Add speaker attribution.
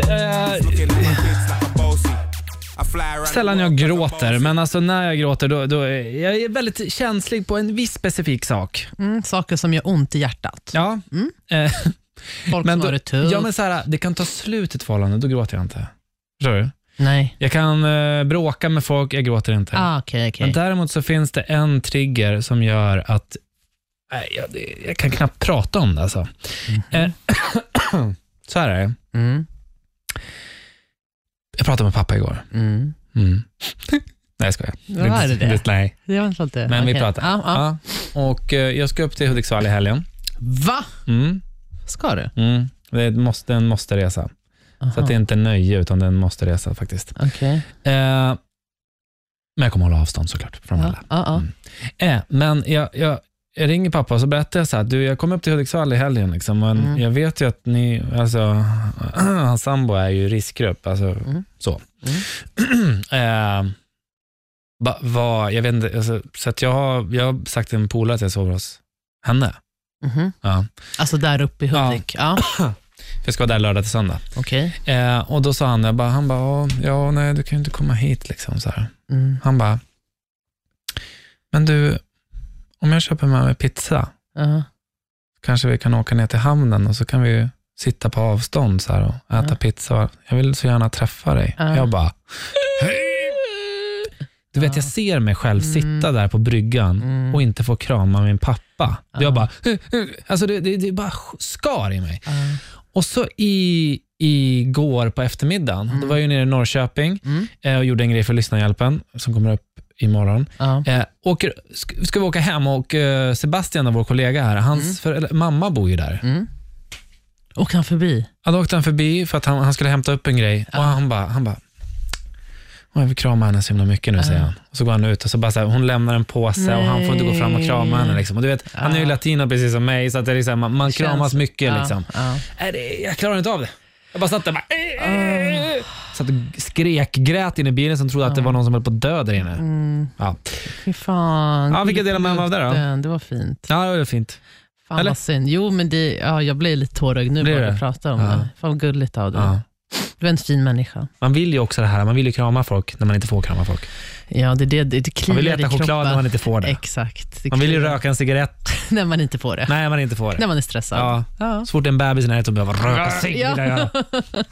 Speaker 1: Eh, Sällan jag gråter, men alltså när jag gråter då, då är jag är väldigt känslig på en viss specifik sak.
Speaker 2: Mm, saker som gör ont i hjärtat.
Speaker 1: Ja. Eh,
Speaker 2: Folk
Speaker 1: men
Speaker 2: som
Speaker 1: då,
Speaker 2: har det tufft.
Speaker 1: ja, men så här, det kan ta slut i ett förhållande, då gråter jag inte. Förstår du?
Speaker 2: Nej.
Speaker 1: Jag kan eh, bråka med folk, jag gråter inte.
Speaker 2: Ah, okej, okej.
Speaker 1: Men däremot så finns det en trigger som gör att nej, jag, det- jag kan knappt prata om det. Alltså. Eh, så här är det.
Speaker 2: Mm,
Speaker 1: Jag pratade med pappa igår.
Speaker 2: mm.
Speaker 1: Mm. nej, jag skojar.
Speaker 2: Vad var det? det?
Speaker 1: Nej,
Speaker 2: Det var inte det.
Speaker 1: men vi
Speaker 2: Okej. Ah,
Speaker 1: pratar.
Speaker 2: Ja, ja.
Speaker 1: Ja. Och eh, jag ska upp till Hudiksvall i helgen.
Speaker 2: Va?
Speaker 1: Mm.
Speaker 2: Ska du?
Speaker 1: Mm. Det är ett måste, en måste-resa. Så att det är inte nöje, utan det är en måste-resa faktiskt.
Speaker 2: Aha, Okej.
Speaker 1: Eh, men jag kommer hålla avstånd såklart från
Speaker 2: Ja, ah,
Speaker 1: alla.
Speaker 2: ja, ja.
Speaker 1: Mm. Eh, men jag, jag, jag ringer pappa och så berättar jag så här, du jag kom upp till Hudiksvall i helgen liksom, men
Speaker 2: Mm.
Speaker 1: jag vet ju att ni, alltså, hans sambo är ju riskgrupp, alltså
Speaker 2: Mm.
Speaker 1: så. eh, ba, vad, jag vet inte, alltså, så att jag har, jag har sagt till en polare att jag sover hos henne.
Speaker 2: Mhm.
Speaker 1: Ja.
Speaker 2: Alltså där uppe i
Speaker 1: Ja.
Speaker 2: Hudik. Ja.
Speaker 1: För jag ska vara där lördag till söndag.
Speaker 2: Okej.
Speaker 1: Eh, och då sa han, jag bara, han bara, "Ja, ja nej du kan ju inte komma hit liksom så här.
Speaker 2: Mm.
Speaker 1: Han bara, men du, om jag köper med mig pizza,
Speaker 2: Ja.
Speaker 1: kanske vi kan åka ner till hamnen och så kan vi ju sitta på avstånd så här och äta
Speaker 2: Ja.
Speaker 1: pizza. Jag vill så gärna träffa dig.
Speaker 2: Ja.
Speaker 1: Jag bara, hej! Du vet,
Speaker 2: Ja.
Speaker 1: jag ser mig själv
Speaker 2: Mm.
Speaker 1: sitta där på bryggan
Speaker 2: Mm.
Speaker 1: och inte få krama min pappa.
Speaker 2: Ja.
Speaker 1: Jag bara, "Hu, hu." alltså det, det, det bara skar i mig.
Speaker 2: Ja.
Speaker 1: Och så i, igår på eftermiddagen, då var jag ju nere i Norrköping
Speaker 2: Mm.
Speaker 1: eh, och gjorde en grej för Lyssnarhjälpen som kommer upp imorgon.
Speaker 2: Ja.
Speaker 1: Eh, åker, ska, ska vi åka hem och eh, Sebastian, vår kollega här, hans för, eller, mamma bor ju där.
Speaker 2: Mm. Åker han förbi?
Speaker 1: Ja, då åkte han förbi för att han, han skulle hämta upp en grej och han bara, han bara "Åh, jag vill krama henne så himla mycket nu, säger han. Och så går han ut och så bara så här, hon lämnar en påse och han får inte gå fram och krama
Speaker 2: Nej.
Speaker 1: henne. Liksom. Och du vet, Han är ju
Speaker 2: Ah.
Speaker 1: latino precis som mig, så att det är liksom, man, man
Speaker 2: Känns-
Speaker 1: kramas mycket.
Speaker 2: Ja,
Speaker 1: Liksom.
Speaker 2: ja.
Speaker 1: Nej, det, jag klarar inte av det. Jag bara satt där bara, "Eh, eh, eh." satt och skrekgrät inne i bilen som trodde att det var någon som höll på att dö där inne.
Speaker 2: Mm.
Speaker 1: Ja.
Speaker 2: Fy fan.
Speaker 1: Ja, vilka delar man av det då?
Speaker 2: Den, Det var fint.
Speaker 1: ja, det var fint.
Speaker 2: Fan
Speaker 1: Eller?
Speaker 2: vad synd. Jo, men det, ja, jag blir lite tårögd nu
Speaker 1: Blir
Speaker 2: bara
Speaker 1: det?
Speaker 2: du pratar om
Speaker 1: Ja.
Speaker 2: det. Fan vad gulligt av dig.
Speaker 1: Ja.
Speaker 2: Du är en fin människa.
Speaker 1: Man vill ju också det här, man vill ju krama folk när man inte får krama folk.
Speaker 2: Ja, det, är det, det, det
Speaker 1: Man
Speaker 2: kliar
Speaker 1: vill ju
Speaker 2: i
Speaker 1: äta
Speaker 2: kroppen.
Speaker 1: choklad när man inte får det.
Speaker 2: Exakt. Det
Speaker 1: Man vill ju
Speaker 2: kliar
Speaker 1: röka en cigarett
Speaker 2: När man inte får det.
Speaker 1: när man inte får det.
Speaker 2: När man är stressad.
Speaker 1: Ja.
Speaker 2: Ja.
Speaker 1: Så fort det är en bebis i närheten behöver röka cigg.
Speaker 2: Ja.
Speaker 1: vill jag göra.